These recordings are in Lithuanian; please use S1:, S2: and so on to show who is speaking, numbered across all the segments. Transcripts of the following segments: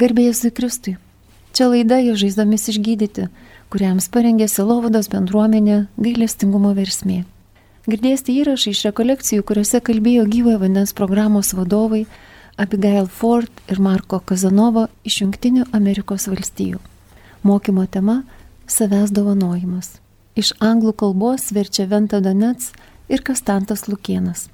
S1: Garbėjusui Kristui. Čia laida jo žaizdomis išgydyti, kuriams parengė Silovados bendruomenė gailestingumo versmė. Girdėsite įrašą iš rekolekcijų, kuriuose kalbėjo gyvojo vandens programos vadovai Abigail Ford ir Marko Kazanovo iš Junktinių Amerikos valstijų. Mokymo tema - savęs dovanojimas. Iš anglų kalbos verčia Venta Donets ir Kastantas Lukienas.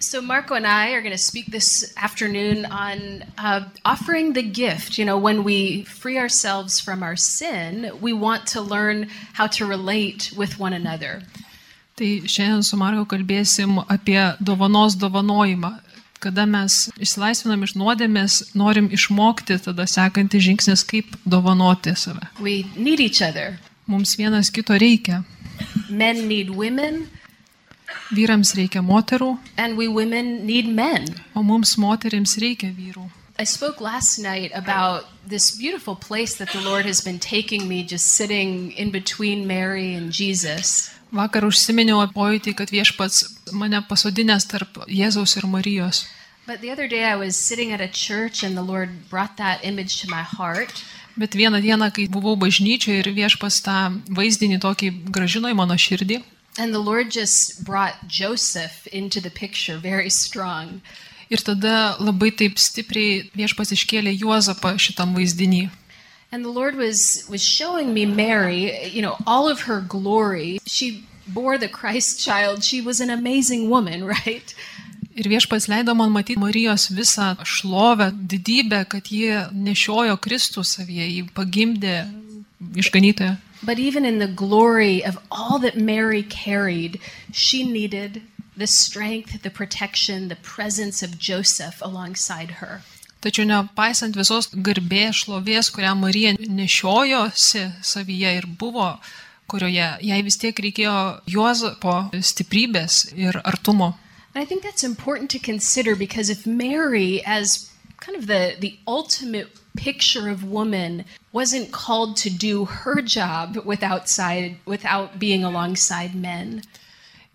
S2: So, Marco and I are going to speak this afternoon on uh, offering the gift. You know, when we free ourselves from our sin, we want to learn how to relate with one another.
S3: Tai šiandien su Marko kalbėsim apie dovanos dovanojimą. Kada mes išsilaisvinam iš nuodėmės, norim išmokti tada sekantį žingsnis, kaip dovanoti save.
S2: We need each other.
S3: Mums vienas kito reikia.
S2: Men need women,
S3: Vyrams reikia moterų,
S2: and we women need men.
S3: o mums moterims reikia vyrų.
S2: I spoke last night about this beautiful place that the Lord has been taking me, just sitting in between Mary and Jesus.
S3: Vakar užsiminiau apie pojūtį, kad viešpats mane pasodinės tarp Jėzaus ir Marijos.
S2: But the other day I was sitting at a church, and the Lord brought that image to my heart.
S3: Bet vieną dieną, kai buvau bažnyčioje ir viešpas tą vaizdinį tokį gražino į mano širdį,
S2: And the Lord just brought Joseph into the picture very strong.
S3: ir tada labai taip stipriai viešpas iškėlė Juozapą šitam vaizdinį.
S2: And the Lord was was showing me Mary, you know, all of her glory. She bore the Christ child. She was an amazing woman, right?
S3: Ir viešpas leido man matyti Marijos visą šlovę, didybę, kad ji nešiojo Kristų savyje, jį pagimdė išganytoje.
S2: But even in the glory of all that Mary carried, she needed the strength, the protection, the presence of Joseph alongside her.
S3: Tačiau nepaisant visos garbės šlovės, kurią Marija nešiojosi savyje ir buvo, kurioje jai vis tiek reikėjo Juozapo stiprybės ir artumo.
S2: And I think that's important to consider because if Mary, as kind of the, the ultimate picture of woman, wasn't called to do her job without, side, without being alongside men,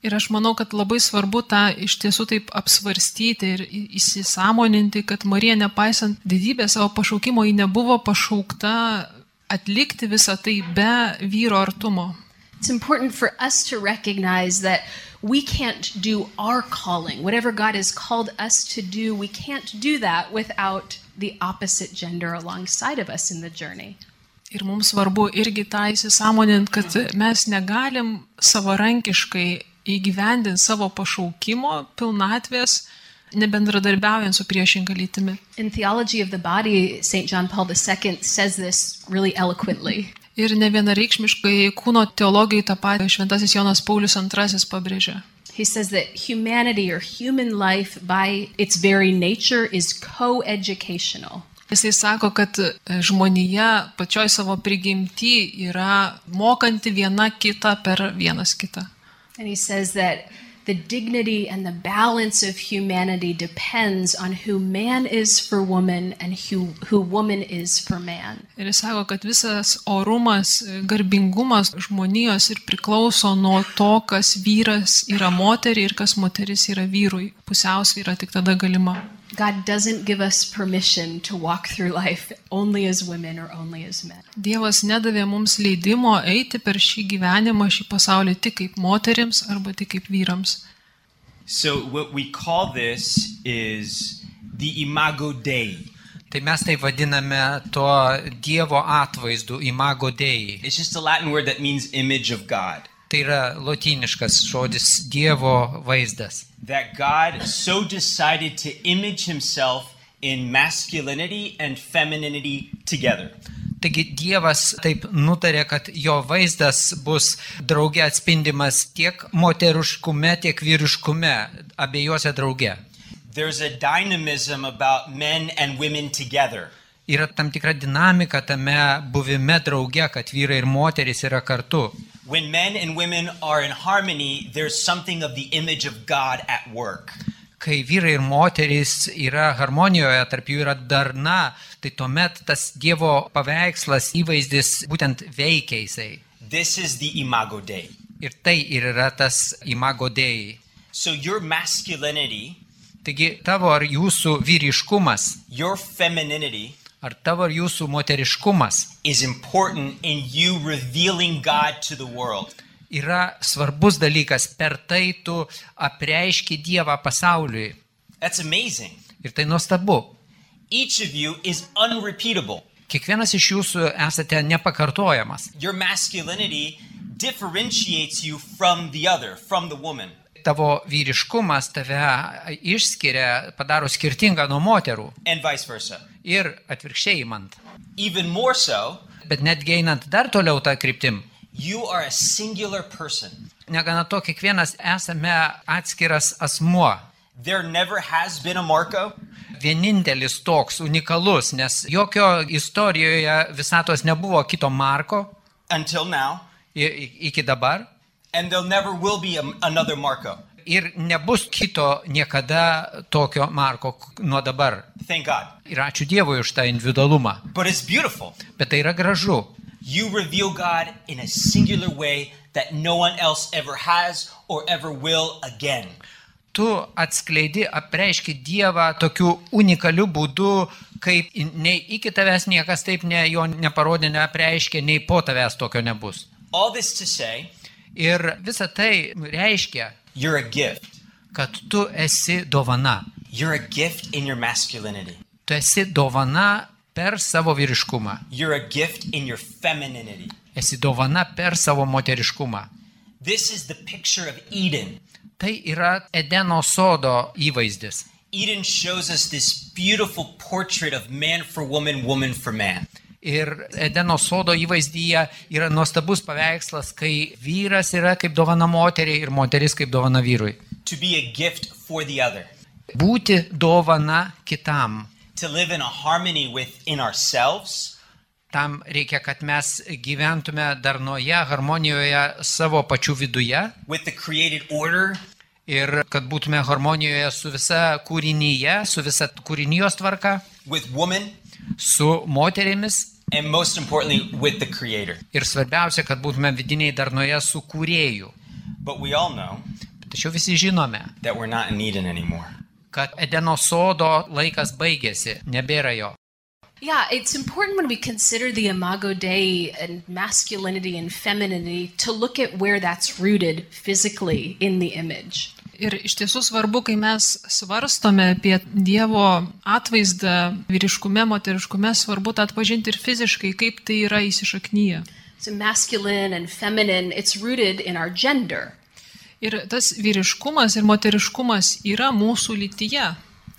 S3: Ir aš manau, kad labai svarbu tą iš tiesų taip apsvarstyti ir į- įsisamoninti, kad Marija, nepaisant didybės savo pašaukimo, ji nebuvo pašaukta atlikti visą tai be vyro artumo.
S2: it's important for us to recognize that we can't do our calling. Whatever God has called us to do, we can't do that without the opposite gender alongside of us in the journey.
S3: Ir mums svarbu irgi tą įsisamonint, kad mes negalim savarankiškai įgyvendinti savo pašaukimo pilnatvės, nebendradarbiaujant su priešinga lytimi.
S2: In Theology of the Body, St. John Paul II says this really eloquently.
S3: Ir ne vienareikšmiškai kūno teologijai tą patį Šventasis Jonas Paulius II pabrėžė.
S2: He says that humanity or human life, by its very nature, is co educational.
S3: Jisai sako, kad e, žmonija pačioj savo prigimti yra mokanti viena kitą per vienas kitą.
S2: And he says that the dignity and the balance of humanity depends on who man is for woman and who, who woman is for man.
S3: Ir jis sako, kad visas orumas, e, garbingumas žmonijos ir priklauso nuo to, kas vyras yra moteriai ir kas moteris yra vyrui. Pusiausvyra tik tada galima.
S2: God doesn't give us permission to walk through life only as women or only as men.
S3: Dievas nedavė mums leidimo eiti per šį gyvenimą, šį pasaulį tik kaip moterims arba tik kaip vyrams.
S4: So what we call this is the Imago Dei.
S5: Tai mes tai vadiname to Dievo atvaizdu imago dėjai.
S4: It's just a Latin word that means image of God.
S5: Tai yra lotyniškas žodis Dievo vaizdas.
S4: That God so decided to image himself in masculinity and femininity together.
S5: Taigi Dievas taip nutarė, kad jo vaizdas bus drauge atspindimas tiek moteriškume, tiek vyriškume, abiejose drauge.
S4: There's a dynamism about men and women together.
S5: Yra tam tikra dinamika tame buvime drauge, kad vyrai ir moteris yra kartu.
S4: When men and women are in harmony, there's something of the image of God at work.
S5: Kai vyrai ir moterys yra harmonijoje, tarp jų yra darna, tai tuomet tas Dievo paveikslas įvaizdis būtent veikia jisai.
S4: This is the Imago Dei.
S5: Ir tai ir yra tas imago dėjai.
S4: So your masculinity,
S5: Taigi tavo ar jūsų vyriškumas
S4: your femininity,
S5: ar tavo ir jūsų moteriškumas
S4: is important in you revealing God to the world.
S5: yra svarbus dalykas, per tai tu apreiški Dievą pasauliui.
S4: That's amazing.
S5: Ir tai nuostabu.
S4: Each of you is unrepeatable.
S5: Kiekvienas iš jūsų esate nepakartojamas.
S4: Your masculinity differentiates you from the other, from the woman.
S5: Tavo vyriškumas tave išskiria, padaro skirtingą nuo moterų
S4: and vice versa.
S5: ir atvirkščiai įmant.
S4: Even more so,
S5: Bet netgi einant dar toliau tą kryptim,
S4: you are a singular person.
S5: negana to, kiekvienas esame atskiras asmuo.
S4: There never has been a Marco,
S5: Vienintelis toks unikalus, nes jokio istorijoje visatos nebuvo kito Marko
S4: until now,
S5: i- i- iki dabar
S4: and there never will be a, another Marco.
S5: ir nebus kito niekada tokio Marko k- nuo dabar.
S4: Thank God.
S5: Ir ačiū Dievui už tą individualumą.
S4: But it's beautiful.
S5: Bet tai yra gražu.
S4: You reveal God in a singular way that no one else ever has or ever will again.
S5: Tu atskleidi, apreiški Dievą tokiu unikaliu būdu, kaip i- nei iki tavęs niekas taip ne, jo neparodė, neapreiškė, nei po tavęs tokio nebus.
S4: All this to say,
S5: Ir visa tai reiškia,
S4: you're a gift.
S5: kad tu esi dovana.
S4: You're a gift in your masculinity.
S5: Tu esi dovana per savo vyriškumą.
S4: You're a gift in your femininity.
S5: Esi dovana per savo moteriškumą.
S4: This is the picture of Eden.
S5: Tai yra Edeno sodo įvaizdis.
S4: Eden shows us this beautiful portrait of man for woman, woman for man.
S5: Ir Edeno sodo įvaizdyje yra nuostabus paveikslas, kai vyras yra kaip dovana moteriai ir moteris kaip dovana vyrui.
S4: To be a gift for the other,
S5: Būti dovana kitam.
S4: to live in a harmony within ourselves
S5: Tam reikia, kad mes gyventume darnoje, harmonijoje savo pačių viduje
S4: with the created order,
S5: ir kad būtume harmonijoje su visa kūrinyje, su visa kūrinijos tvarka,
S4: with woman,
S5: su moterimis
S4: and most importantly, with the creator.
S5: ir svarbiausia, kad būtume vidiniai darnoje su kūrėju.
S4: But we all know
S5: Tačiau visi žinome,
S4: that we're not in Eden anymore.
S5: kad Edeno sodo laikas baigėsi, nebėra jo.
S2: Yeah, it's important when we consider the Imago Dei and masculinity and femininity to look at where that's rooted physically in the image.
S3: Ir iš tiesų svarbu, kai mes svarstome apie Dievo atvaizdą vyriškume, moteriškume, svarbu tą atpažinti ir fiziškai, kaip tai yra įsišaknyje.
S2: So, masculine and feminine, it's rooted in our gender.
S3: Ir tas vyriškumas ir moteriškumas yra mūsų lytyje.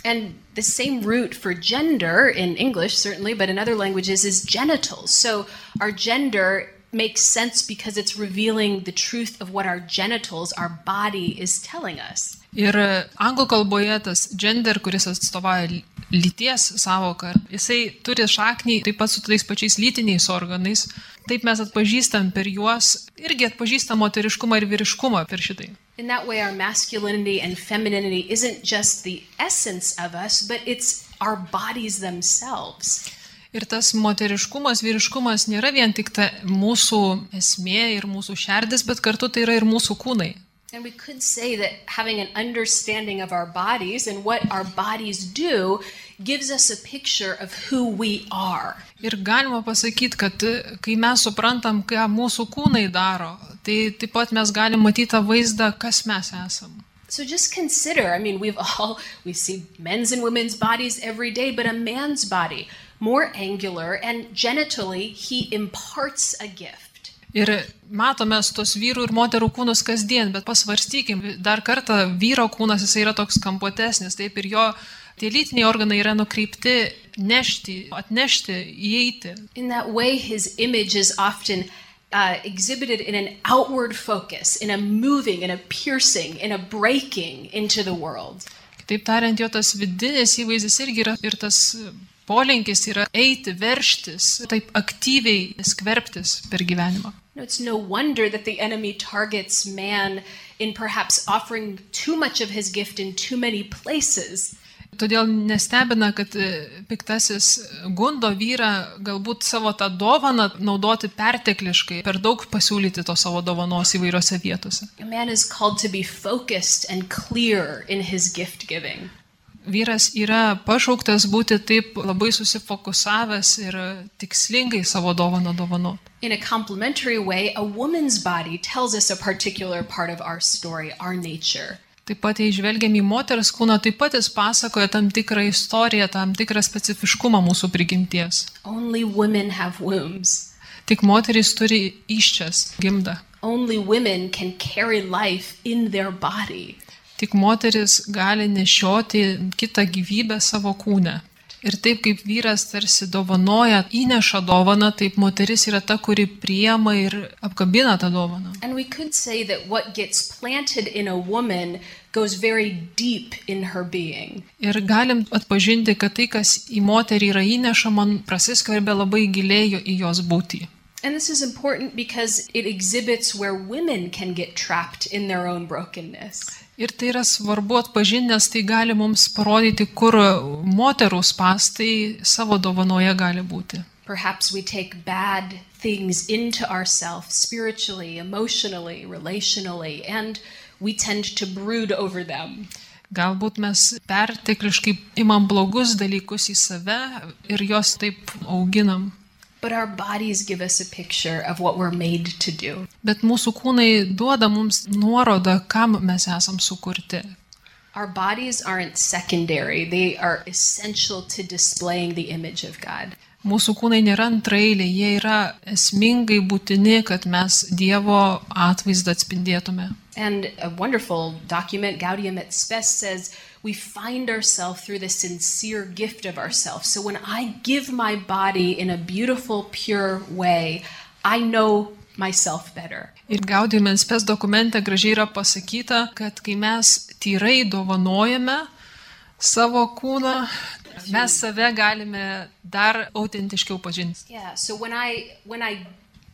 S2: And the same root for gender in English, certainly, but in other languages is genitals. So, our gender makes sense because it's revealing the truth of what our genitals, our body, is telling us.
S3: Ir anglų kalboje tas gender, kuris atstovauja ly- lyties savoką, jisai turi šaknį taip pat su tais pačiais lytiniais organais. Taip mes atpažįstam per juos, irgi atpažįstam moteriškumą ir vyriškumą per šitai.
S2: In that way, our masculinity and femininity isn't just the essence of us, but it's our bodies themselves.
S3: Ir tas moteriškumas, vyriškumas nėra vien tik ta mūsų esmė ir mūsų šerdis, bet kartu tai yra ir mūsų kūnai.
S2: And we could say that having an understanding of our bodies and what our bodies do gives us a picture of who we are.
S3: Ir galima pasakyti, kad e, kai mes suprantam, ką mūsų kūnai daro, tai taip pat mes galim matyti tą vaizdą, kas mes esam.
S2: So just consider, I mean, we've all we see men's and women's bodies every day, but a man's body, more angular and genitally, he imparts a gift.
S3: Ir matome tos vyrų ir moterų kūnus kasdien, bet pasvarstykim, dar kartą vyro kūnas jisai yra toks kampuotesnis, taip ir jo tie lytiniai organai yra nukreipti nešti, atnešti, įeiti.
S2: In that way, his image is often uh, exhibited in an outward focus, in a moving, in a piercing, in a breaking into the world.
S3: Kitaip tariant, jo tas vidinis įvaizdis irgi yra ir tas polinkis yra eiti, verštis, taip aktyviai skverbtis per gyvenimą.
S2: You know, it's no wonder that the enemy targets man in perhaps offering too much of his gift in too many places.
S3: Todėl nestebina, kad e, piktasis gundo vyrą galbūt savo tą dovaną naudoti pertekliškai, per daug pasiūlyti to savo dovanos įvairiose vietose.
S2: A man is called to be focused and clear in his gift giving.
S3: Vyras yra pašauktas būti taip labai susifokusavęs ir tikslingai savo dovaną dovanot.
S2: In a complementary way, a woman's body tells us a particular part of our story, our nature.
S3: Taip pat, jei žvelgiam į moters kūną, taip pat jis pasakoja tam tikrą istoriją, tam tikrą specifiškumą mūsų prigimties.
S2: Only women have wombs.
S3: Tik moteris turi iščias gimdą.
S2: Only women can carry life in their body.
S3: Tik moteris gali nešioti kitą gyvybę savo kūne. Ir taip kaip vyras tarsi dovanoja, įneša dovaną, taip moteris yra ta, kuri priema ir apkabina tą dovaną.
S2: And we could say that what gets planted in a woman goes very deep in her being.
S3: Ir galim atpažinti, kad tai, kas į moterį yra įnešama, prasiskverbia labai giliai į jos būtį.
S2: And this is important because it exhibits where women can get trapped in their own brokenness.
S3: Ir tai yra svarbu atpažinti, nes tai gali mums parodyti, kur moterų spastai savo dovanoje gali būti.
S2: Perhaps we take bad things into ourselves spiritually, emotionally, relationally, and we tend to brood over them.
S3: Galbūt mes pertekliškai imam blogus dalykus į save ir juos taip auginam.
S2: But our bodies give us a picture of what we're made to do.
S3: Bet mūsų kūnai duoda mums nuorodą, kam mes esam sukurti.
S2: Our bodies aren't secondary, they are essential to displaying the image of God.
S3: Mūsų kūnai nėra antrailiai, jie yra esmingai būtini, kad mes Dievo atvaizdą atspindėtume.
S2: And a wonderful document, Gaudium et Spes, says we find ourselves through the sincere gift of ourselves. So when I give my body in a beautiful, pure way, I know myself better.
S3: Ir gaudėjimens pes dokumente gražiai yra pasakyta, kad kai mes tyrai dovanojame savo kūną, mes save galime dar autentiškiau pažinti.
S2: Yeah, so when I when I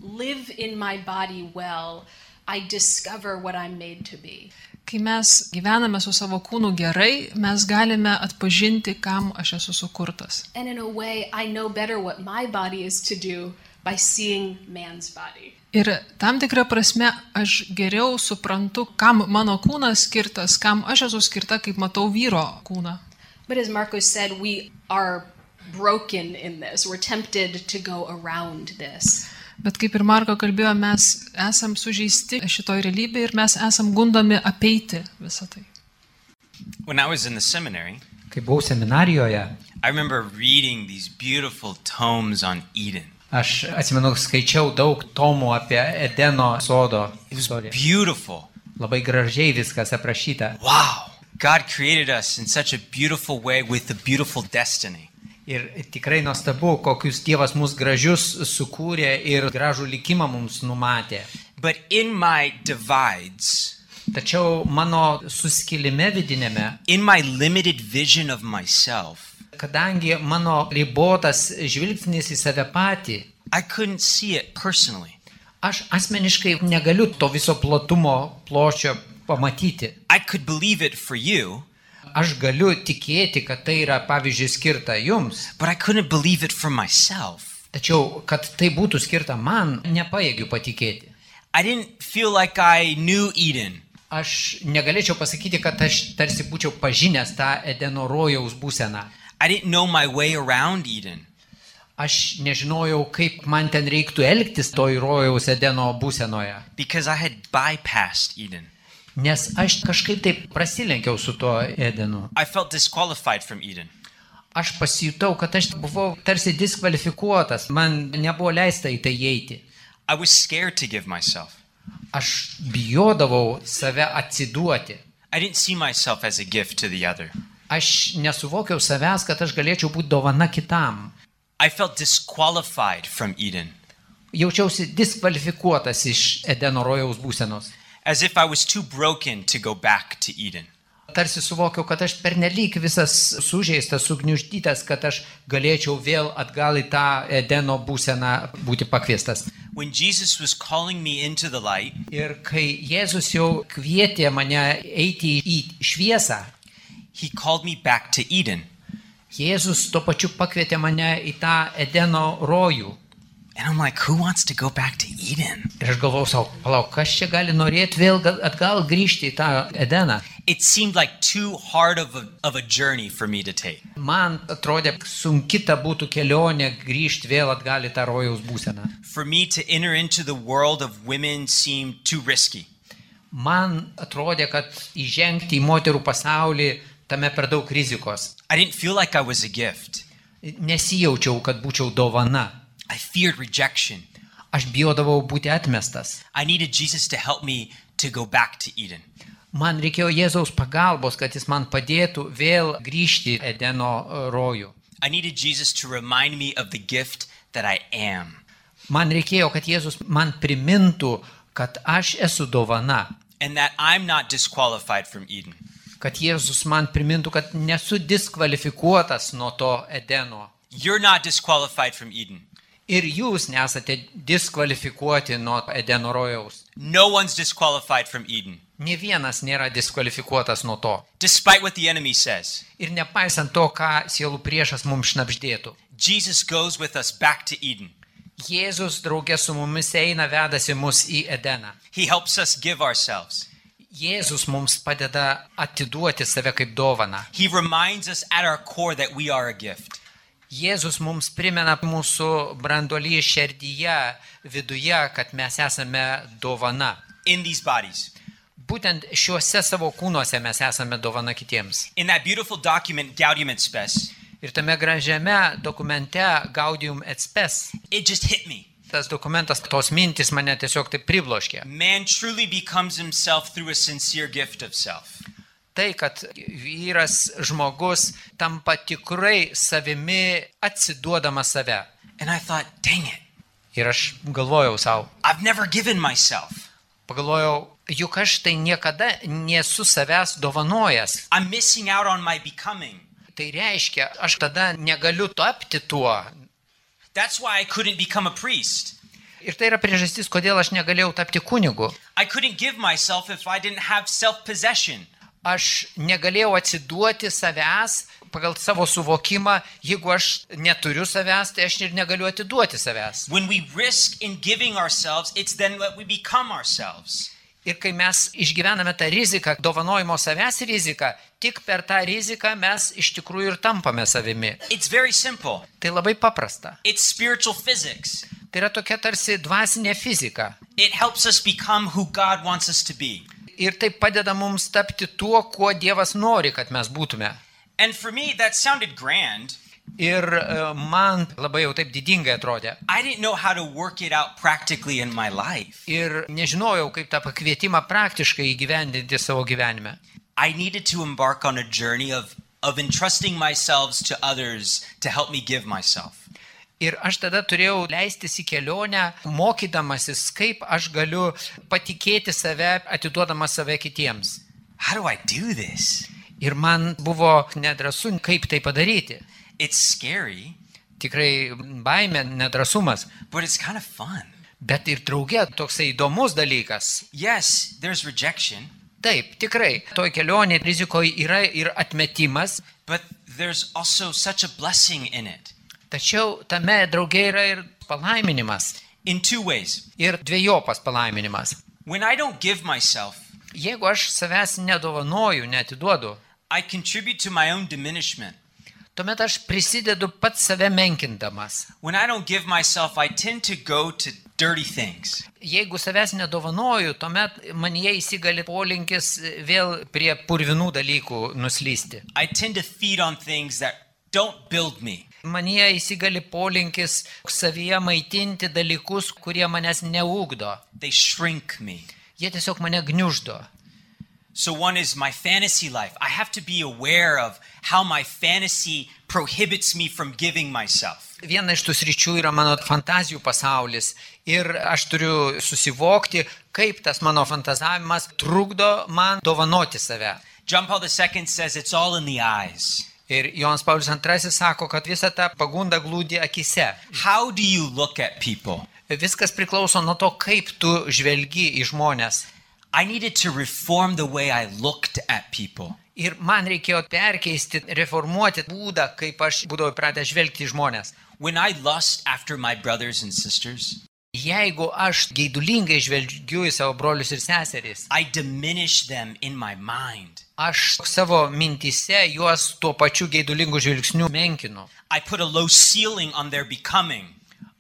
S2: live in my body well, I discover what I'm made to be.
S3: Kai mes gyvename su savo kūnu gerai, mes galime atpažinti, kam aš esu sukurtas.
S2: And in a way, I know better what my body is to do by seeing man's body.
S3: Ir tam tikrą prasme aš geriau suprantu, kam mano kūnas skirtas, kam aš esu skirta, kaip matau vyro kūną.
S2: But as Marcos said, we are broken in this. We're tempted to go around this.
S3: Bet kaip ir Marko kalbėjo, mes esam sužeisti šitoj realybėje ir mes esam gundami apeiti visą tai.
S4: When I was in the seminary,
S5: Kai buvau seminarijoje,
S4: I remember reading these beautiful tomes on Eden.
S5: aš atsimenu, skaičiau daug tomų apie Edeno sodo
S4: It was
S5: istoriją.
S4: beautiful.
S5: Labai gražiai viskas aprašyta.
S4: Wow. God created us in such a beautiful way with a beautiful destiny.
S5: Ir tikrai nuostabu, kokius Dievas mus gražius sukūrė ir gražų likimą mums numatė.
S4: But in my divides,
S5: Tačiau mano suskilime vidinėme,
S4: in my limited vision of myself,
S5: kadangi mano ribotas žvilgsnis į save patį,
S4: I couldn't see it personally.
S5: aš asmeniškai negaliu to viso platumo pločio pamatyti.
S4: I could believe it for you,
S5: Aš galiu tikėti, kad tai yra pavyzdžiui skirta jums,
S4: but I couldn't believe it for myself.
S5: tačiau kad tai būtų skirta man, nepaėgiu patikėti.
S4: I didn't feel like I knew Eden.
S5: Aš negalėčiau pasakyti, kad aš tarsi būčiau pažinęs tą Edeno rojaus būseną.
S4: I didn't know my way around Eden.
S5: Aš nežinojau, kaip man ten reiktų elgtis toj rojaus Edeno būsenoje,
S4: because I had bypassed Eden.
S5: nes aš kažkaip taip prasilenkiau su tuo Edenu.
S4: I felt disqualified from Eden.
S5: Aš pasijutau, kad aš buvau tarsi diskvalifikuotas, man nebuvo leista į tai įeiti.
S4: I was scared to give myself.
S5: Aš bijodavau save atsiduoti.
S4: I didn't see myself as a gift to the other.
S5: Aš nesuvokiau savęs, kad aš galėčiau būti dovana kitam.
S4: I felt disqualified from Eden,
S5: Jaučiausi diskvalifikuotas iš Edeno rojaus būsenos.
S4: as if I was too broken to go back to Eden.
S5: Tarsi suvokiau, kad aš pernelyg visas sužeistas, sugniuždytas, kad aš galėčiau vėl atgal į tą Edeno būseną būti pakviestas.
S4: When Jesus was calling me into the light,
S5: Ir kai Jėzus jau kvietė mane eiti į šviesą,
S4: he called me back to Eden.
S5: Jėzus tuo pačiu pakvietė mane į tą Edeno rojų.
S4: And I'm like, who wants to go back to Eden?
S5: Ir aš galvojau savo, palauk, kas čia gali norėti vėl gal- atgal grįžti į tą Edeną.
S4: It seemed like too hard of a, of a journey for me to take.
S5: Man atrodė, sunki ta būtų kelionė grįžti vėl atgal į tą rojaus būseną.
S4: For me to enter into the world of women seemed too risky.
S5: Man atrodė, kad įžengti į moterų pasaulį tame per daug rizikos.
S4: I didn't feel like I was a gift.
S5: Nesijaučiau, kad būčiau dovana.
S4: I feared rejection.
S5: Aš bijodavau būti atmestas.
S4: I needed Jesus to help me to go back to Eden.
S5: Man reikėjo Jėzaus pagalbos, kad jis man padėtų vėl grįžti į Edeno e, rojų.
S4: I needed Jesus to remind me of the gift that I am.
S5: Man reikėjo, kad Jėzus man primintų, kad aš esu dovana.
S4: and that I'm not disqualified from Eden.
S5: Kad Jėzus man primintų, kad nesu diskvalifikuotas nuo to Edeno.
S4: You're not disqualified from Eden.
S5: Ir jūs nesate diskvalifikuoti nuo Edeno rojaus.
S4: No one's disqualified from Eden,
S5: Ne vienas nėra diskvalifikuotas nuo to.
S4: despite what the enemy says.
S5: Ir nepaisant to, ką sielų priešas mums šnapždėtų.
S4: Jesus goes with us back to Eden.
S5: Jėzus draugė su mumis eina, vedasi mus į Edeną.
S4: He helps us give ourselves.
S5: Jėzus mums padeda atiduoti save kaip dovaną.
S4: He reminds us at our core that we are a gift.
S5: Jėzus mums primena mūsų branduolį širdyje, viduje, kad mes esame dovana.
S4: In these bodies.
S5: Būtent šiuose savo kūnuose mes esame dovana kitiems.
S4: In that beautiful document, Gaudium et Spes,
S5: Ir tame gražiame dokumente Gaudium et spes,
S4: it just hit me.
S5: tas dokumentas, tos mintis mane tiesiog taip pribloškė.
S4: Man truly becomes himself through a sincere gift of self.
S5: Tai, kad vyras žmogus tampa tikrai savimi atsiduodama save.
S4: And I thought, dang it,
S5: Ir aš galvojau savo,
S4: I've never given myself.
S5: pagalvojau, juk aš tai niekada nesu savęs dovanojęs.
S4: I'm missing out on my becoming.
S5: Tai reiškia, aš tada negaliu tapti tuo.
S4: That's why I couldn't become a priest.
S5: Ir tai yra priežastis, kodėl aš negalėjau tapti kunigu.
S4: I couldn't give myself if I didn't have self possession.
S5: Aš negalėjau atsiduoti savęs pagal savo suvokimą, jeigu aš neturiu savęs, tai aš ir negaliu atiduoti savęs.
S4: When we risk in giving ourselves, it's then that we become ourselves.
S5: Ir kai mes išgyvename tą riziką, dovanojimo savęs riziką, tik per tą riziką mes iš tikrųjų ir tampame savimi.
S4: It's very simple.
S5: Tai labai paprasta.
S4: It's spiritual physics.
S5: Tai yra tokia tarsi dvasinė fizika.
S4: It helps us become who God wants us to be.
S5: Ir tai padeda mums tapti tuo, kuo Dievas nori, kad mes būtume.
S4: And for me, that sounded grand.
S5: Ir e, man labai jau taip didingai atrodė.
S4: I didn't know how to work it out practically in my life.
S5: Ir nežinojau, kaip tą pakvietimą praktiškai įgyvendinti savo gyvenime.
S4: I needed to embark on a journey of, of entrusting myself to others to help me give myself.
S5: Ir aš tada turėjau leistis į kelionę, mokydamasis, kaip aš galiu patikėti save, atiduodamas save kitiems.
S4: How do I do this?
S5: Ir man buvo nedrasu, kaip tai padaryti.
S4: It's scary,
S5: Tikrai baime, nedrasumas,
S4: but it's kind of fun.
S5: bet ir draugė toksai įdomus dalykas.
S4: Yes, there's rejection,
S5: Taip, tikrai, toj kelionėje rizikoje yra ir atmetimas,
S4: but there's also such a blessing in it
S5: Tačiau tame draugė yra ir palaiminimas.
S4: in two ways.
S5: Ir dviejopas palaiminimas.
S4: When I don't give myself,
S5: Jeigu aš savęs nedovanoju, netiduodu,
S4: I contribute to my own diminishment.
S5: tuomet aš prisidedu pats save menkindamas.
S4: When I don't give myself, I tend to go to dirty things.
S5: Jeigu savęs nedovanoju, tuomet man jie įsigali polinkis vėl prie purvinų dalykų nuslysti.
S4: I tend to feed on things that don't build me.
S5: Man jie įsigali polinkis savyje maitinti dalykus, kurie manęs neugdo.
S4: They shrink me.
S5: Jie tiesiog mane gniuždo.
S4: So, one is my fantasy life. I have to be aware of how my fantasy prohibits me from giving myself.
S5: Viena iš tų sričių yra mano fantazijų pasaulis ir aš turiu susivokti, kaip tas mano fantazavimas trukdo man dovanoti save.
S4: John Paul II says it's all in the eyes.
S5: Ir Jonas Paulius II sako, kad visa ta pagunda glūdi akise.
S4: How do you look at people?
S5: Viskas priklauso nuo to, kaip tu žvelgi į žmonės.
S4: I needed to reform the way I looked at people.
S5: Ir man reikėjo perkeisti, reformuoti būdą, kaip aš būdavau įpratęs žvelgti į žmonės.
S4: when I lust after my brothers and sisters,
S5: Jeigu aš geidulingai žvelgiu į savo brolius ir seserys,
S4: I diminish them in my mind.
S5: aš savo mintise juos tuo pačiu geidulingu žvilgsniu menkinu.
S4: I put a low ceiling on their becoming.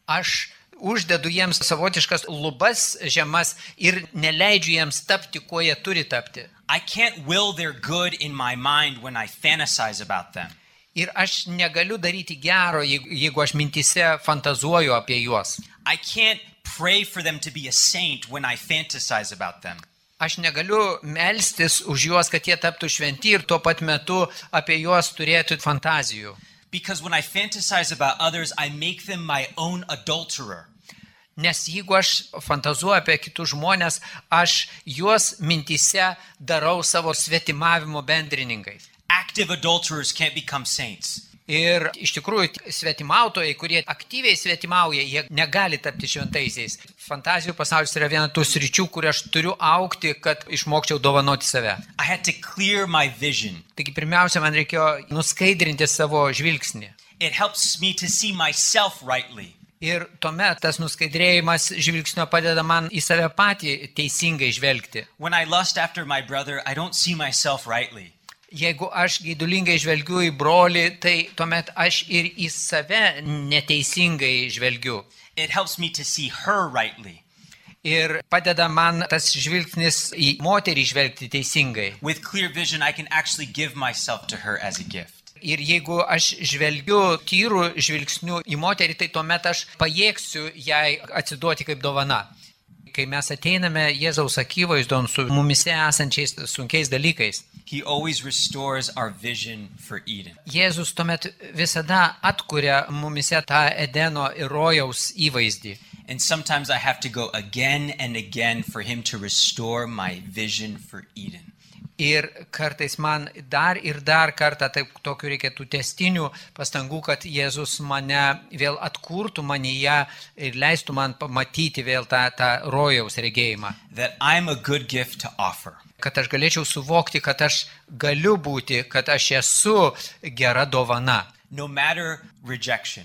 S5: Aš uždedu jiems savotiškas lubas žemas ir neleidžiu jiems tapti, kuo jie turi tapti.
S4: I can't will their good in my mind when I fantasize about them.
S5: Ir aš negaliu daryti gero, jeigu jeigu aš mintise fantazuoju apie juos.
S4: I can't pray for them to be a saint when I fantasize about them.
S5: Aš negaliu melstis už juos, kad jie taptų šventi ir tuo pat metu apie juos turėtų fantazijų.
S4: Because when I fantasize about others, I make them my own adulterer.
S5: Nes jeigu aš fantazuoju apie kitus žmonės, aš juos mintise darau savo svetimavimo bendrininkais.
S4: Active adulterers can't become saints.
S5: Ir iš tikrųjų svetimautojai, kurie aktyviai svetimauja, jie negali tapti šventaisiais. Fantazijų pasaulis yra viena tų sričių, kur aš turiu aukti, kad išmokčiau dovanoti save.
S4: I had to clear my vision.
S5: Taigi pirmiausia, man reikėjo nuskaidrinti savo žvilgsnį.
S4: It helps me to see myself rightly.
S5: Ir tuomet tas nuskaidrėjimas žvilgsnio padeda man į save patį teisingai žvelgti.
S4: When I lust after my brother, I don't see myself rightly.
S5: Jeigu aš gaidulingai žvelgiu į brolį, tai tuomet aš ir į save neteisingai žvelgiu.
S4: It helps me to see her rightly.
S5: Ir padeda man tas žvilgsnis į moterį žvelgti teisingai.
S4: With clear vision, I can actually give myself to her as a gift.
S5: Ir jeigu aš žvelgiu tyrų žvilgsnių į moterį, tai tuomet aš pajėgsiu jai atsiduoti kaip dovana. Kai mes ateiname Jėzaus akivaizdon su mumise esančiais sunkiais dalykais,
S4: He always restores our vision for Eden.
S5: Jėzus tuomet visada atkuria mumise tą Edeno ir rojaus įvaizdį.
S4: And sometimes I have to go again and again for him to restore my vision for Eden.
S5: Ir kartais man dar ir dar kartą taip tokių reikėtų testinių pastangų, kad Jėzus mane vėl atkurtų manyje ir leistų man pamatyti vėl tą, tą rojaus regėjimą.
S4: That I'm a good gift to offer.
S5: Kad aš galėčiau suvokti, kad aš galiu būti, kad aš esu gera dovana.
S4: No matter rejection,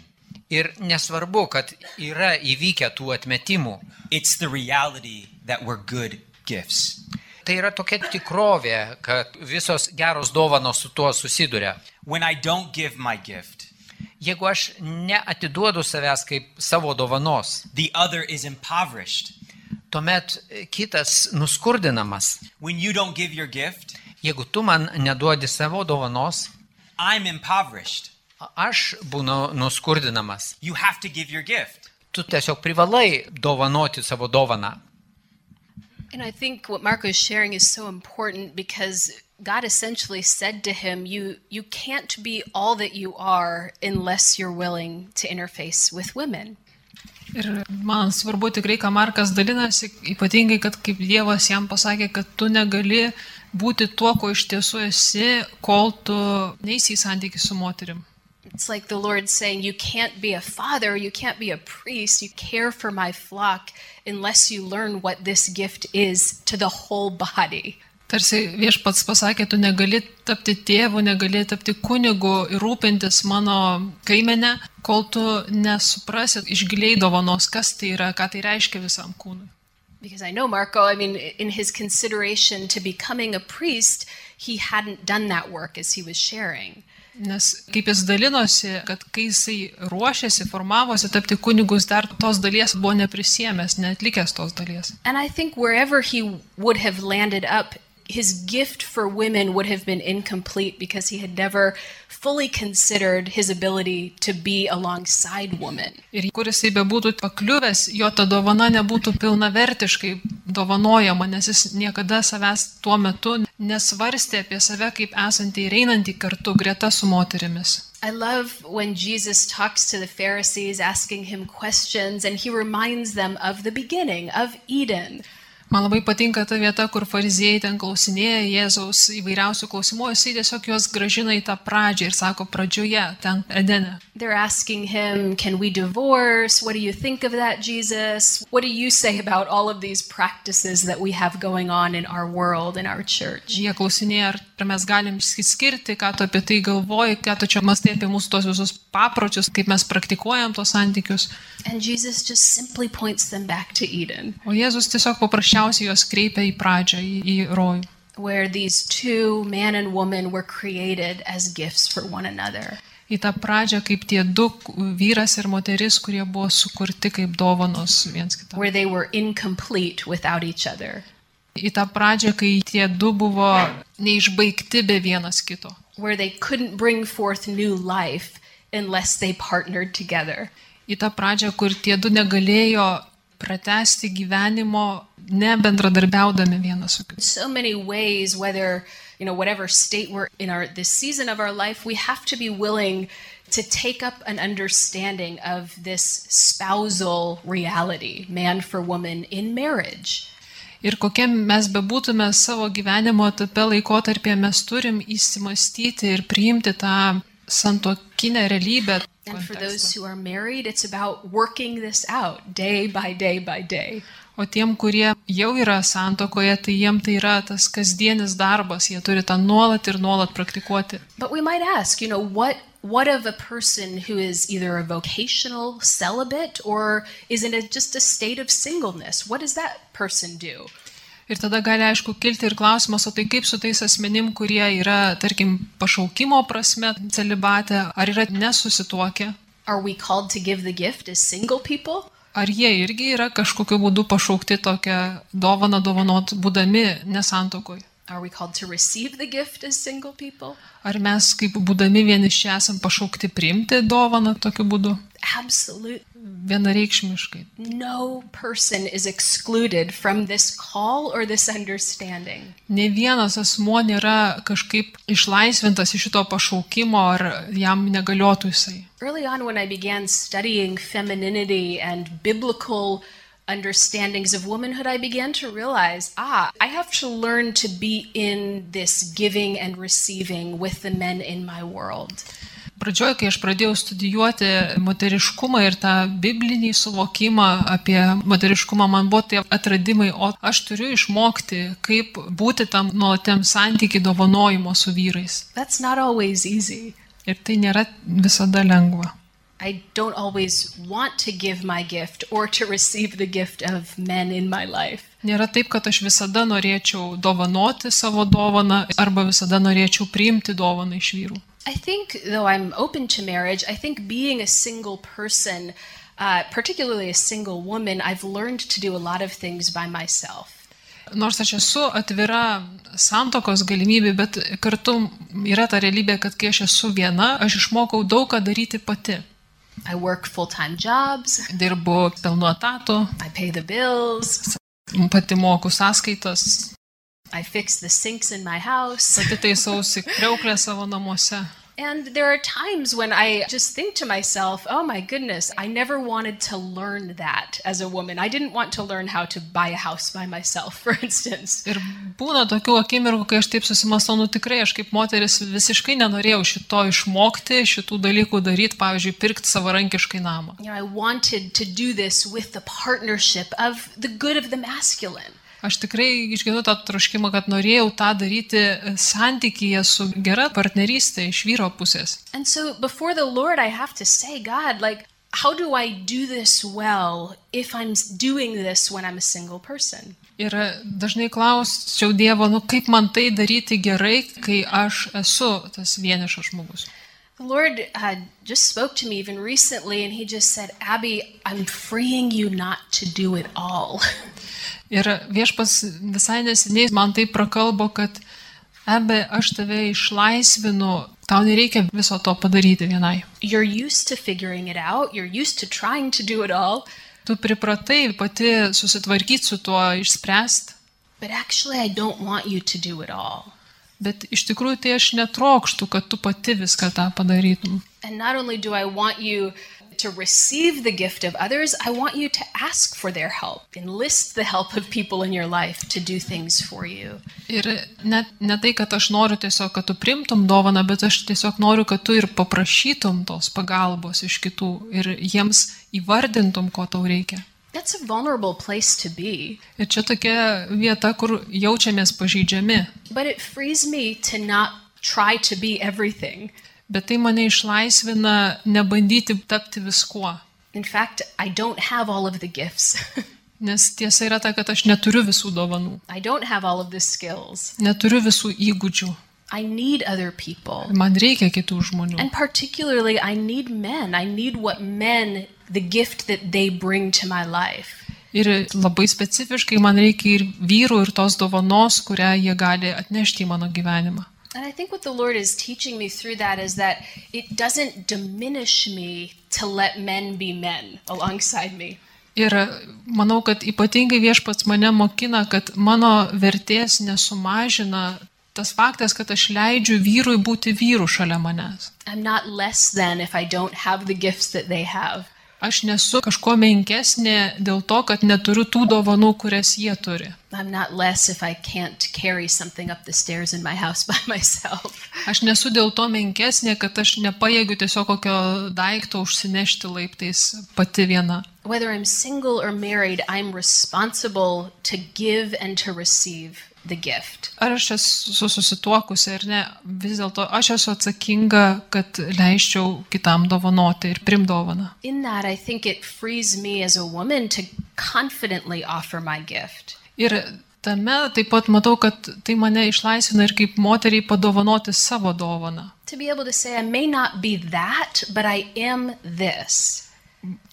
S5: Ir nesvarbu, kad yra įvykę tų atmetimų.
S4: it's the reality that we're good gifts.
S5: Tai yra tokia tikrovė, kad visos geros dovanos su tuo susiduria.
S4: When I don't give my gift,
S5: Jeigu aš neatiduodu savęs kaip savo dovanos,
S4: the other is impoverished.
S5: tuomet kitas nuskurdinamas.
S4: When you don't give your gift,
S5: Jeigu tu man neduodi savo dovanos,
S4: I'm impoverished.
S5: aš būnu nuskurdinamas.
S4: You have to give your gift.
S5: Tu tiesiog privalai dovanoti savo dovaną.
S2: And I think what Marco is sharing is so important because God essentially said to him, you, you can't be all that you are unless you're willing to interface with women.
S3: Ir man svarbu tikrai, ką Markas dalinasi, ypatingai, kad kaip Dievas jam pasakė, kad tu negali būti tuo, ko iš tiesų esi, kol tu neįsi į santykį su moterim.
S2: It's like the Lord saying, You can't be a father, you can't be a priest, you care for my flock unless you learn what this gift is to the whole body.
S3: Tarsi viešpats pasakė, tu negali tapti tėvu, negali tapti kunigu ir rūpintis mano kaimene, kol tu nesuprasi išgiliai dovanos, kas tai yra, ką tai reiškia visam kūnui.
S2: Because I know Marco, I mean, in his consideration to becoming a priest, he hadn't done that work as he was sharing.
S3: Nes kaip jis dalinosi, kad kai jisai ruošėsi, formavosi tapti kunigus, dar tos dalies buvo neprisėmęs, netlikęs tos dalies.
S2: And I think wherever he would have landed up, his gift for women would have been incomplete because he had never fully considered his ability to be alongside women.
S3: Ir kur jisai bebūtų pakliuvęs, jo ta dovana nebūtų pilnavertiškai dovanojama, nes jis niekada savęs tuo metu nesvarstė apie save kaip esantį ir einantį kartu greta su moterimis.
S2: I love when Jesus talks to the Pharisees, asking him questions, and he reminds them of the beginning of Eden.
S3: Man labai patinka ta vieta, kur fariziejai ten klausinėja Jėzaus įvairiausių klausimų, jisai tiesiog juos gražina į tą pradžią ir sako pradžioje, ten Edene.
S2: They're asking him, Can we divorce? What do you think of that, Jesus? What do you say about all of these practices that we have going on in our world, in our church?
S3: Jie klausinėja, ar ar mes galim išsiskirti, ką tu apie tai galvoji, ką tu čia mastai apie mūsų tos visus papročius, kaip mes praktikuojam tos santykius.
S2: And Jesus just simply points them back to Eden,
S3: O Jėzus tiesiog paprasčiausiai juos kreipia į pradžią, į, į rojų.
S2: where these two, man and woman, were created as gifts for one another.
S3: Į tą pradžią, kaip tie du vyras ir moteris, kurie buvo sukurti kaip dovanos viens kitam.
S2: where they were incomplete without each other,
S3: Į tą pradžią, kai tie du buvo neišbaigti be vienas kito.
S2: where they couldn't bring forth new life unless they partnered together.
S3: Į tą pradžią, kur tie du negalėjo pratesti gyvenimo nebendradarbiaudami vienas su kitu.
S2: So many ways, whether, you know, whatever state we're in our this season of our life, we have to be willing to take up an understanding of this spousal reality, man for woman in marriage.
S3: Ir kokie mes bebūtume savo gyvenimo etape laikotarpėje, mes turim įsimastyti ir priimti tą santokinę realybę.
S2: And for
S3: kontekstą.
S2: those who are married, it's about working this out day by day by day.
S3: O tiem, kurie jau yra santokoje, tai jiem tai yra tas kasdienis darbas, jie turi tą nuolat ir nuolat praktikuoti.
S2: But we might ask, you know, what what of a person who is either a vocational celibate or is in a, just a state of singleness? What does that person do?
S3: Ir tada gali aišku kilti ir klausimas, o tai kaip su tais asmenim, kurie yra, tarkim, pašaukimo prasme celibate, ar yra nesusituokę,
S2: Are we called to give the gift as single people?
S3: ar jie irgi yra kažkokiu būdu pašaukti tokią dovaną dovanot, būdami nesantokoj.
S2: Are we called to receive the gift as single people?
S3: Ar mes kaip būdami vieniši esam pašaukti priimti dovaną tokiu būdu?
S2: Absolutely.
S3: Vienareikšmiškai.
S2: No person is excluded from this call or this understanding.
S3: Ne vienas asmo nėra kažkaip išlaisvintas iš šito pašaukimo, ar jam negaliotų jisai.
S2: Early on, when I began studying femininity and biblical understandings of womanhood, I began to realize ah, I have to learn to be in this giving and receiving with the men in my world.
S3: Pradžioje, kai aš pradėjau studijuoti moteriškumą ir tą biblinį suvokimą apie moteriškumą, man buvo tie atradimai, o aš turiu išmokti, kaip būti tam nuolatiam santykiai dovanojimo su vyrais.
S2: That's not always easy.
S3: Ir tai nėra visada lengva.
S2: I don't always want to give my gift or to receive the gift of men in my life.
S3: Nėra taip, kad aš visada norėčiau dovanoti savo dovaną arba visada norėčiau priimti dovaną iš vyrų.
S2: I think, though I'm open to marriage, I think being a single person, uh, particularly a single woman, I've learned to do a lot of things by myself.
S3: Nors aš esu atvira santokos galimybė, bet kartu yra ta realybė, kad kai aš esu viena, aš išmokau daug ką daryti pati.
S2: I work full time jobs,
S3: Dirbu pelnu atatu,
S2: I pay the bills,
S3: pati moku sąskaitas,
S2: I fix the sinks in my house.
S3: pati taisausi kreuklę savo namuose.
S2: And there are times when I just think to myself, oh my goodness, I never wanted to learn that as a woman. I didn't want to learn how to buy a house by myself, for instance.
S3: Ir būna tokių akimirkų, kai aš taip susimastau, nu tikrai aš kaip moteris visiškai nenorėjau šito išmokti, šitų dalykų daryti, pavyzdžiui, pirkti savarankiškai namą.
S2: You know, I wanted to do this with the partnership of the good of the masculine.
S3: Aš tikrai išgyvenu tą troškimą, kad norėjau tą daryti santykyje su gera partnerystė iš vyro pusės.
S2: And so before the Lord, I have to say, God, like, how do I do this well if I'm doing this when I'm a single person?
S3: Ir dažnai klausčiau Dievo, nu kaip man tai daryti gerai, kai aš esu tas vienišas žmogus.
S2: The Lord uh, just spoke to me even recently, and He just said, Abby, I'm freeing you not to do it all.
S3: Ir viešpas visai neseniai man tai prakalbo, kad Ebe, aš tave išlaisvinu, tau nereikia viso to padaryti vienai.
S2: You're used to figuring it out, you're used to trying to do it all,
S3: Tu pripratai pati susitvarkyti su tuo, išspręsti,
S2: but actually, I don't want you to do it all.
S3: bet iš tikrųjų tai aš netrokštų, kad tu pati viską tą padarytum.
S2: And not only do I want you to receive the gift of others, I want you to ask for their help. Enlist the help of people in your life to do things for you.
S3: Ir net ne tai, kad aš noriu tiesiog, kad tu primtum dovaną, bet aš tiesiog noriu, kad tu ir paprašytum tos pagalbos iš kitų ir jiems įvardintum, ko tau reikia.
S2: That's a vulnerable place to be,
S3: Ir čia tokia vieta, kur jaučiamės pažeidžiami,
S2: but it frees me to not try to be everything.
S3: bet tai mane išlaisvina nebandyti tapti viskuo.
S2: In fact, I don't have all of the gifts.
S3: Nes tiesa yra ta, kad aš neturiu visų dovanų,
S2: I don't have all of the skills.
S3: neturiu visų įgūdžių,
S2: I need other people.
S3: man reikia kitų žmonių.
S2: And particularly, I need men. I need what men, the gift that they bring to my life.
S3: Ir labai specifiškai man reikia ir vyrų, ir tos dovanos, kurią jie gali atnešti į mano gyvenimą.
S2: And I think what the Lord is teaching me through that is that it doesn't diminish me to let men be men alongside me.
S3: Ir manau, kad ypatingai viešpats mane mokina, kad mano vertės nesumažina tas faktas, kad aš leidžiu vyrui būti vyru šalia manęs.
S2: I'm not less than if I don't have the gifts that they have.
S3: Aš nesu kažko menkesnė dėl to, kad neturiu tų dovanų, kurias jie turi.
S2: I'm not less if I can't carry something up the stairs in my house by myself.
S3: Aš nesu dėl to menkesnė, kad aš nepajėgiu tiesiog kokio daikto užsinešti laiptais pati viena.
S2: Whether I'm single or married, I'm responsible to give and to receive the gift.
S3: Ar aš esu susituokusi ar ne, vis dėlto aš esu atsakinga, kad leiščiau kitam dovanoti ir prim dovaną.
S2: In that, I think it frees me as a woman to confidently offer my gift.
S3: Ir tame taip pat matau, kad tai mane išlaisvina ir kaip moteriai padovanoti savo dovaną.
S2: To be able to say, I may not be that, but I am this.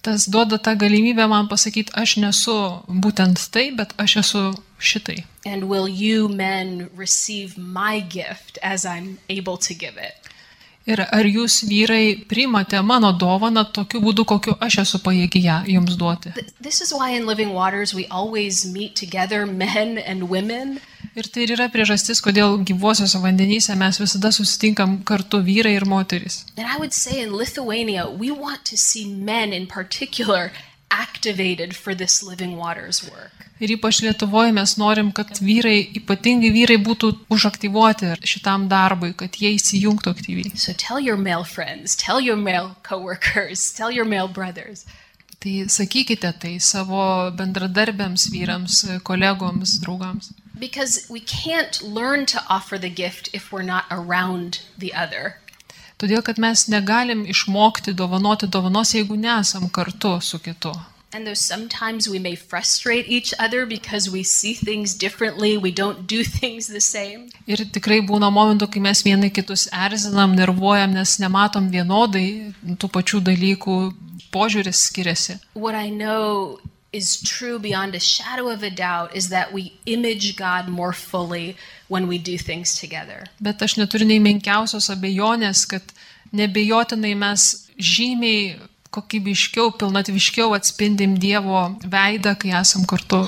S3: Tas duoda tą galimybę man pasakyti, aš nesu būtent tai, bet aš esu šitai.
S2: And will you men receive my gift as I'm able to give it?
S3: Ir ar jūs vyrai primate mano dovaną tokiu būdu, kokiu aš esu pajėgi ją jums duoti.
S2: Th- This is why in Living Waters we always meet together, men and women,
S3: Ir tai ir yra priežastis, kodėl gyvuosiuose vandenyse mes visada susitinkam kartu vyrai ir moteris.
S2: And I would say in Lithuania, we want to see men in particular activated for this Living Waters work.
S3: Ir ypač Lietuvoje mes norim, kad vyrai, ypatingai vyrai būtų užaktyvuoti šitam darbui, kad jie įsijungtų aktyviai.
S2: So tell your male friends, tell your male coworkers, tell your male brothers.
S3: Tai sakykite tai savo bendradarbėms vyrams, kolegoms, draugams.
S2: Because we can't learn to offer the gift if we're not around the other.
S3: Todėl, kad mes negalim išmokti dovanoti dovanos, jeigu nesam kartu su kitu.
S2: And though sometimes we may frustrate each other because we see things differently, we don't do things the same,
S3: Ir tikrai būna momentų, kai mes vieni kitus erzinam, nervuojam, nes nematom vienodai tų pačių dalykų, požiūris skiriasi.
S2: what I know is true beyond a shadow of a doubt is that we image God more fully when we do things together.
S3: Bet aš neturiu nei menkiausios abejonės, kad nebejotinai mes žymiai kokybiškiau, pilnatviškiau atspindim Dievo veidą, kai esam kartu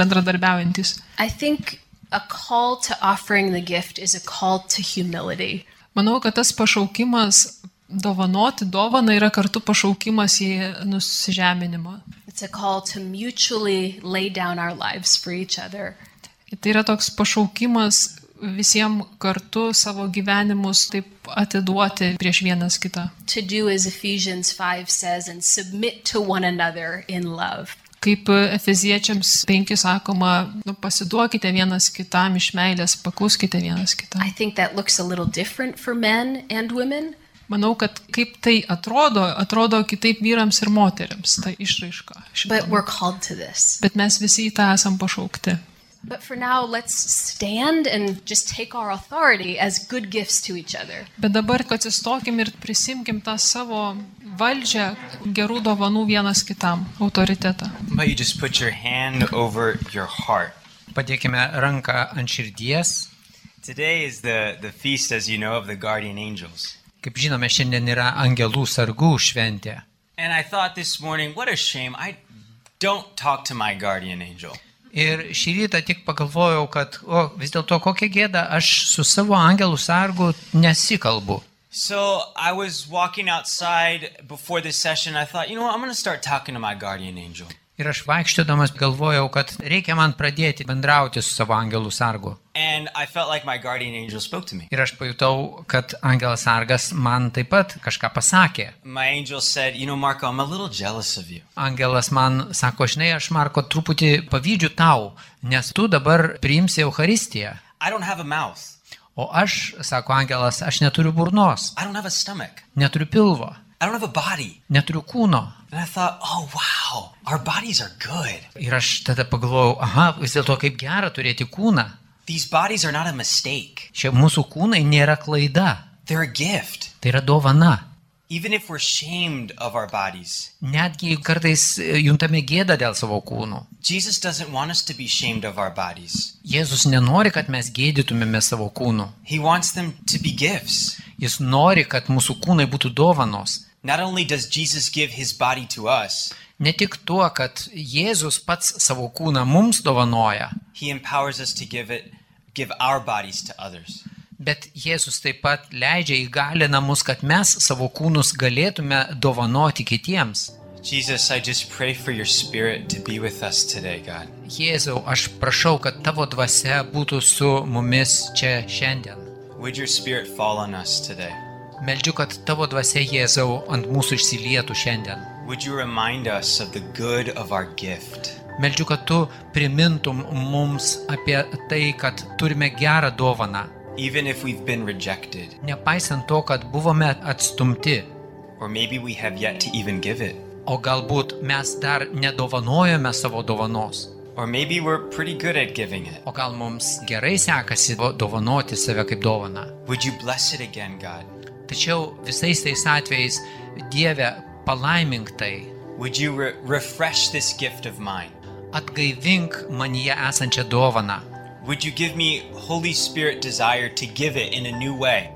S3: bendradarbiaujantis.
S2: I think a call to offering the gift is a call to humility.
S3: Manau, kad tas pašaukimas dovanoti dovaną yra kartu pašaukimas į nusižeminimą.
S2: It's a call to mutually lay down our lives for each other.
S3: Tai yra toks pašaukimas visiems kartu savo gyvenimus taip atiduoti prieš vienas kitą.
S2: To do as Ephesians 5 says and submit to one another in love.
S3: Kaip Efeziečiams 5 sakoma, nu, pasiduokite vienas kitam iš meilės, pakluskite vienas kitam.
S2: I think that looks a little different for men and women,
S3: Manau, kad kaip tai atrodo, atrodo kitaip vyrams ir moteriams, ta išraiška. šito.
S2: but we're called to this.
S3: Bet mes visi į tą esam pašaukti.
S2: But for now, let's stand and just take our authority as good gifts to each other.
S3: Bet dabar atsistokim ir prisimkim tą savo valdžią gerų dovanų vienas kitam, autoritetą.
S4: How about you just put your hand over your heart?
S5: Padėkime ranką ant širdies.
S4: Today is the, the feast, as you know, of the guardian angels.
S5: Kaip žinome, šiandien yra angelų sargų šventė.
S4: And I thought this morning, what a shame. I don't talk to my guardian angel.
S5: Ir šį rytą tik pagalvojau, kad o, vis dėlto kokia gėda, aš su savo angelų sargu nesikalbu.
S4: So I was walking outside before this session. I thought, you know what? I'm going to start talking to my guardian angel.
S5: Ir aš vaikščiodamas galvojau, kad reikia man pradėti bendrauti su savo angelų sargu.
S4: And I felt like my guardian angel spoke to me.
S5: Ir aš pajutau, kad angelas sargas man taip pat kažką pasakė.
S4: My angel said, you know, Marco, I'm a little jealous of you.
S5: Angelas man sako, žinai, aš Marko truputį pavydžiu tau, nes tu dabar priimsi Euharistiją.
S4: I don't have a mouth.
S5: O aš, sako angelas, aš neturiu burnos,
S4: I don't have a stomach.
S5: neturiu pilvo,
S4: I don't have a body.
S5: neturiu kūno.
S4: And I thought, oh, wow, our bodies are good.
S5: Ir aš tada pagalvojau, aha, vis dėlto kaip gera turėti kūną.
S4: These bodies are not a mistake,
S5: Šie mūsų kūnai nėra klaida,
S4: they're a gift.
S5: tai yra dovana.
S4: Even if we're shamed of our bodies,
S5: Netgi jeigu kartais e, juntame gėdą dėl savo kūnų.
S4: Jesus doesn't want us to be shamed of our bodies.
S5: Jėzus nenori, kad mes gėdytumėme savo kūnų.
S4: He wants them to be gifts.
S5: Jis nori, kad mūsų kūnai būtų dovanos.
S4: Not only does Jesus give his body to us,
S5: Ne tik tuo, kad Jėzus pats savo kūną mums dovanoja,
S4: he empowers us to give it give our bodies to others.
S5: bet Jėzus taip pat leidžia įgalina mus, kad mes savo kūnus galėtume dovanoti kitiems.
S4: Jesus, I just pray for your spirit to be with us today, God.
S5: Jėzau, aš prašau, kad tavo dvasia būtų su mumis čia šiandien.
S4: Would your spirit fall on us today?
S5: Meldžiu, kad tavo dvasia Jėzau ant mūsų išsilietų šiandien.
S4: Would you remind us of the good of our gift?
S5: Meldžiu, kad tu primintum mums apie tai, kad turime gerą dovaną,
S4: Even if we've been rejected,
S5: nepaisant to, kad buvome atstumti,
S4: or maybe we have yet to even give it,
S5: o galbūt mes dar nedovanojome savo dovanos,
S4: or maybe we're pretty good at giving it.
S5: o gal mums gerai sekasi do- dovanoti save kaip dovaną.
S4: Would you bless it again, God?
S5: Tačiau visais tais atvejais Dieve palaimink tai,
S4: Would you re- refresh this gift of mine?
S5: atgaivink manyje esančią dovaną.
S4: Would you give me Holy Spirit desire to give it in a new way?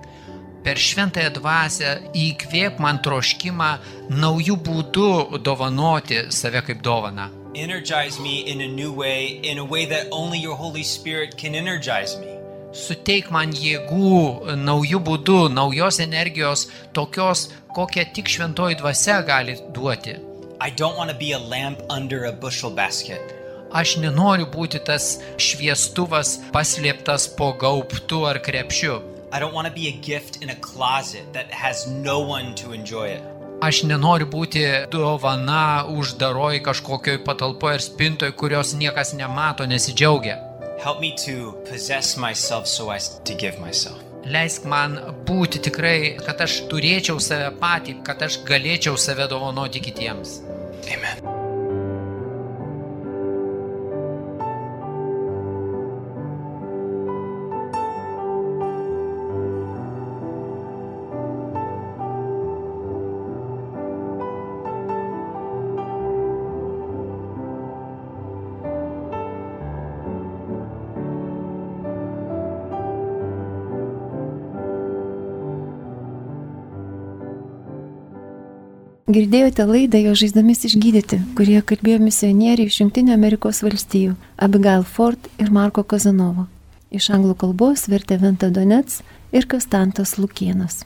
S5: Per šventąją dvasę įkvėp man troškimą naujų būdų dovanoti save kaip dovaną.
S4: Energize me in a new way, in a way that only your Holy Spirit can energize me.
S5: Suteik man jėgų, naujų būdų, naujos energijos, tokios, kokią tik šventoji dvasia gali duoti.
S4: I don't want to be a lamp under a bushel basket.
S5: Aš nenoriu būti tas šviestuvas paslėptas po gaubtu ar krepšiu.
S4: I don't want to be a gift in a closet that has no one to enjoy it.
S5: Aš nenoriu būti dovana uždaroj kažkokioj patalpoje ar spintoje, kurios niekas nemato, nesidžiaugia.
S4: Help me to possess myself so as to give myself.
S5: Leisk man būti tikrai, kad aš turėčiau save patį, kad aš galėčiau save dovanoti kitiems.
S4: Amen.
S1: Girdėjote laidą jo žaizdomis išgydyti, kurie kalbėjo misionieriai iš Junktinio Amerikos valstijų - Abigail Ford ir Marko Kazanovo. Iš anglų kalbos vertė Venta Donets ir Kastantas Lukienas.